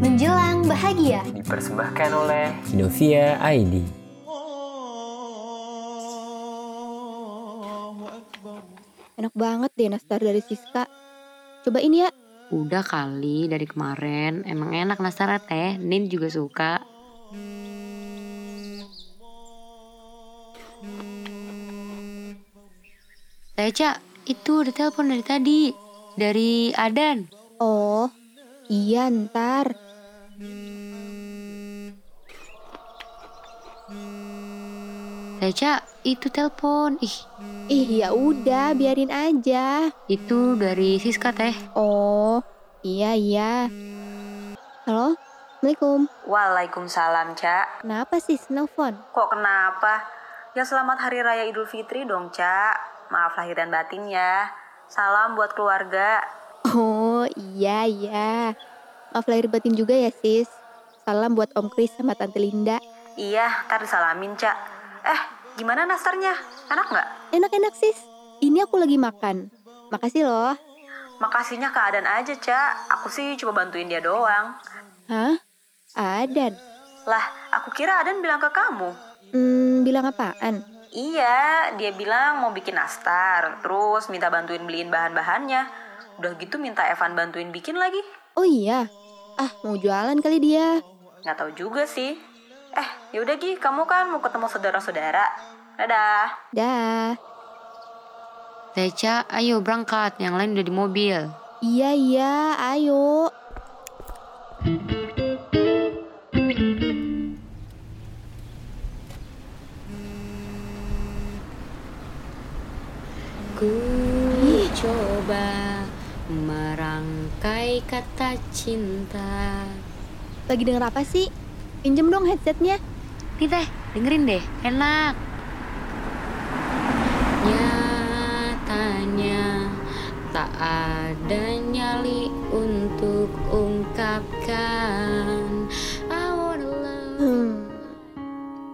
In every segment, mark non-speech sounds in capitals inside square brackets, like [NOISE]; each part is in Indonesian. Salam bahagia. dipersembahkan oleh Novia ID. Enak banget deh nastar dari Siska. Coba ini ya. Udah kali dari kemarin Emang enak nastarnya teh Nin juga suka Teh Ca Itu ada telepon dari tadi Dari Adan Oh, iya ntar. Teh Ca itu telepon Ih Ih ya udah, biarin aja. itu dari Siska teh Oh, iya iya. Halo, assalamualaikum. Waalaikumsalam, Cak. Kenapa sih nelfon? Kok kenapa? Ya selamat Hari Raya Idul Fitri dong, Cak. Maaf lahir dan batin ya. Salam buat keluarga. Oh iya iya. Maaf lahir batin juga ya sis. Salam buat Om Kris sama Tante Linda. Iya, ntar disalamin, Cak. Eh, gimana nastarnya? Enak nggak? Enak-enak sis. Ini aku lagi makan. Makasih loh. Makasihnya keadaan aja, Cak. Aku sih cuma bantuin dia doang. Hah? Adan. Lah, aku kira Adan bilang ke kamu. Hmm, bilang apaan? Iya, dia bilang mau bikin nastar, terus minta bantuin beliin bahan-bahannya. Udah gitu minta Evan bantuin bikin lagi. Oh iya. Ah, mau jualan kali dia. Nggak tahu juga sih. Eh, yaudah Gi, kamu kan mau ketemu saudara-saudara. Dadah. Dah. Teh Ca ayo berangkat Yang lain udah di mobil Iya iya, ayo. Ku coba merangkai kata cinta Lagi denger apa sih? Pinjem dong headsetnya. Nih teh, dengerin deh, enak. Nyatanya tak ada nyali untuk ungkapkan our love. Hmm.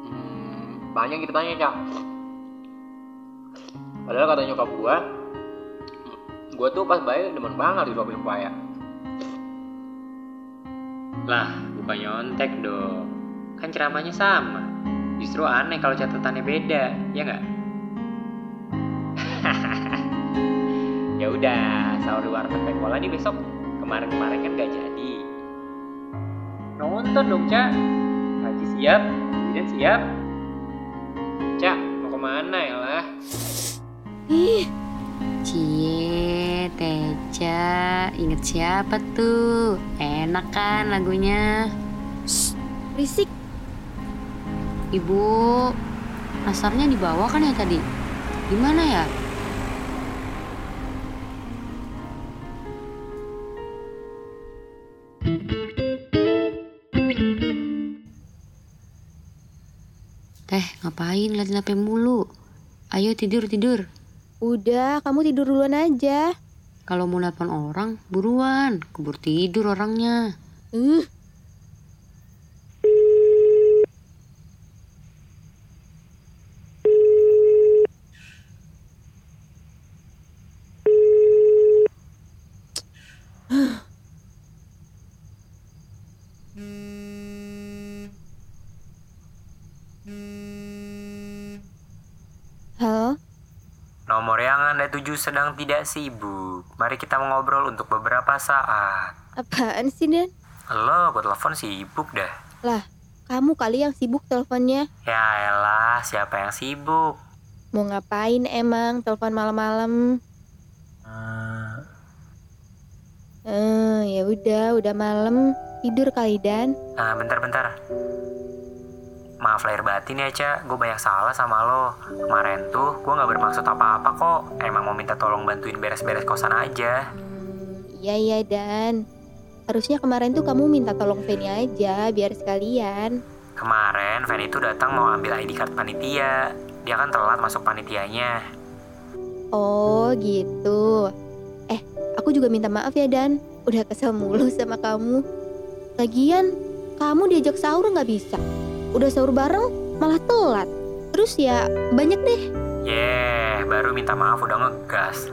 Hmm, banyak gitu tanya cak padahal kata nyokap gua gua tuh pas bayi demen banget disuapin pepaya lah bukan nyontek dong kan ceramahnya sama justru aneh kalau catatannya beda ya nggak [LAUGHS] ya udah sahur di warteg sekolah nih besok kemarin-kemarin kan gak jadi nonton dong cak Haji siap Zidan siap Cak, mau kemana ya lah? Ih, Cie, Teca, inget siapa tuh? Enak kan lagunya? risik. Ibu, nasarnya dibawa kan ya tadi? Gimana ya? Teh, ngapain liatin HP mulu? Ayo tidur, tidur. Udah, kamu tidur duluan aja. Kalau mau nelpon orang, buruan. Kebur tidur orangnya. Uh, Halo, Nomor yang Anda tuju sedang tidak sibuk. Mari kita ngobrol untuk beberapa saat. apaan sih Dan? Lo buat telepon sibuk dah. Lah, kamu kali yang sibuk teleponnya. Ya elah, siapa yang sibuk? Mau ngapain emang telepon malam-malam? Eh, ya udah, udah malam. Tidur kali Dan. Nah, bentar-bentar. Maaf lahir batin ya, Cak. Gue banyak salah sama lo. Kemarin tuh, gue gak bermaksud apa-apa kok. Emang mau minta tolong bantuin beres-beres kosan aja. Iya iya Dan. Harusnya kemarin tuh kamu minta tolong Feni aja biar sekalian. Kemarin, Fanny itu datang mau ambil ID card panitia. Dia kan telat masuk panitianya. Oh, gitu. Eh, aku juga minta maaf ya Dan. Udah kesel mulu sama kamu. Lagian, kamu diajak sahur nggak bisa. Udah sahur bareng malah telat. Terus ya banyak deh. Yeay, baru minta maaf udah ngegas. [LAUGHS]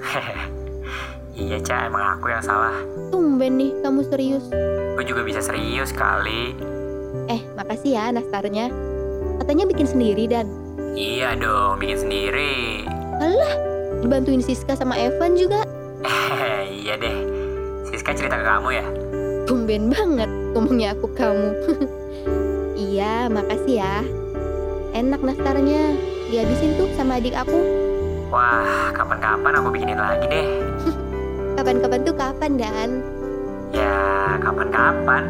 Iya, Ca, emang aku yang salah. Tumben nih kamu serius. Gue juga bisa serius kali. Eh, makasih ya nastarnya. Katanya bikin sendiri dan Iya dong, bikin sendiri. [LAUGHS] dibantuin Siska sama Evan juga. Eh, iya deh. Siska cerita ke kamu ya? Tumben banget ngomongnya aku [LAUGHS] kamu. iya, makasih ya. Enak nastarnya. Dihabisin tuh sama adik aku. Wah, kapan-kapan aku bikinin lagi deh. Kapan-kapan tuh kapan dan. Ya, kapan-kapan.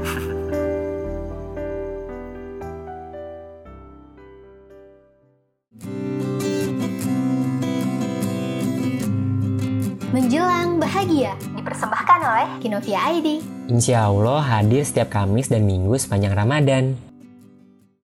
Menjelang bahagia dipersembahkan oleh Kinovia ID. Insya Allah hadir setiap Kamis dan Minggu sepanjang Ramadan.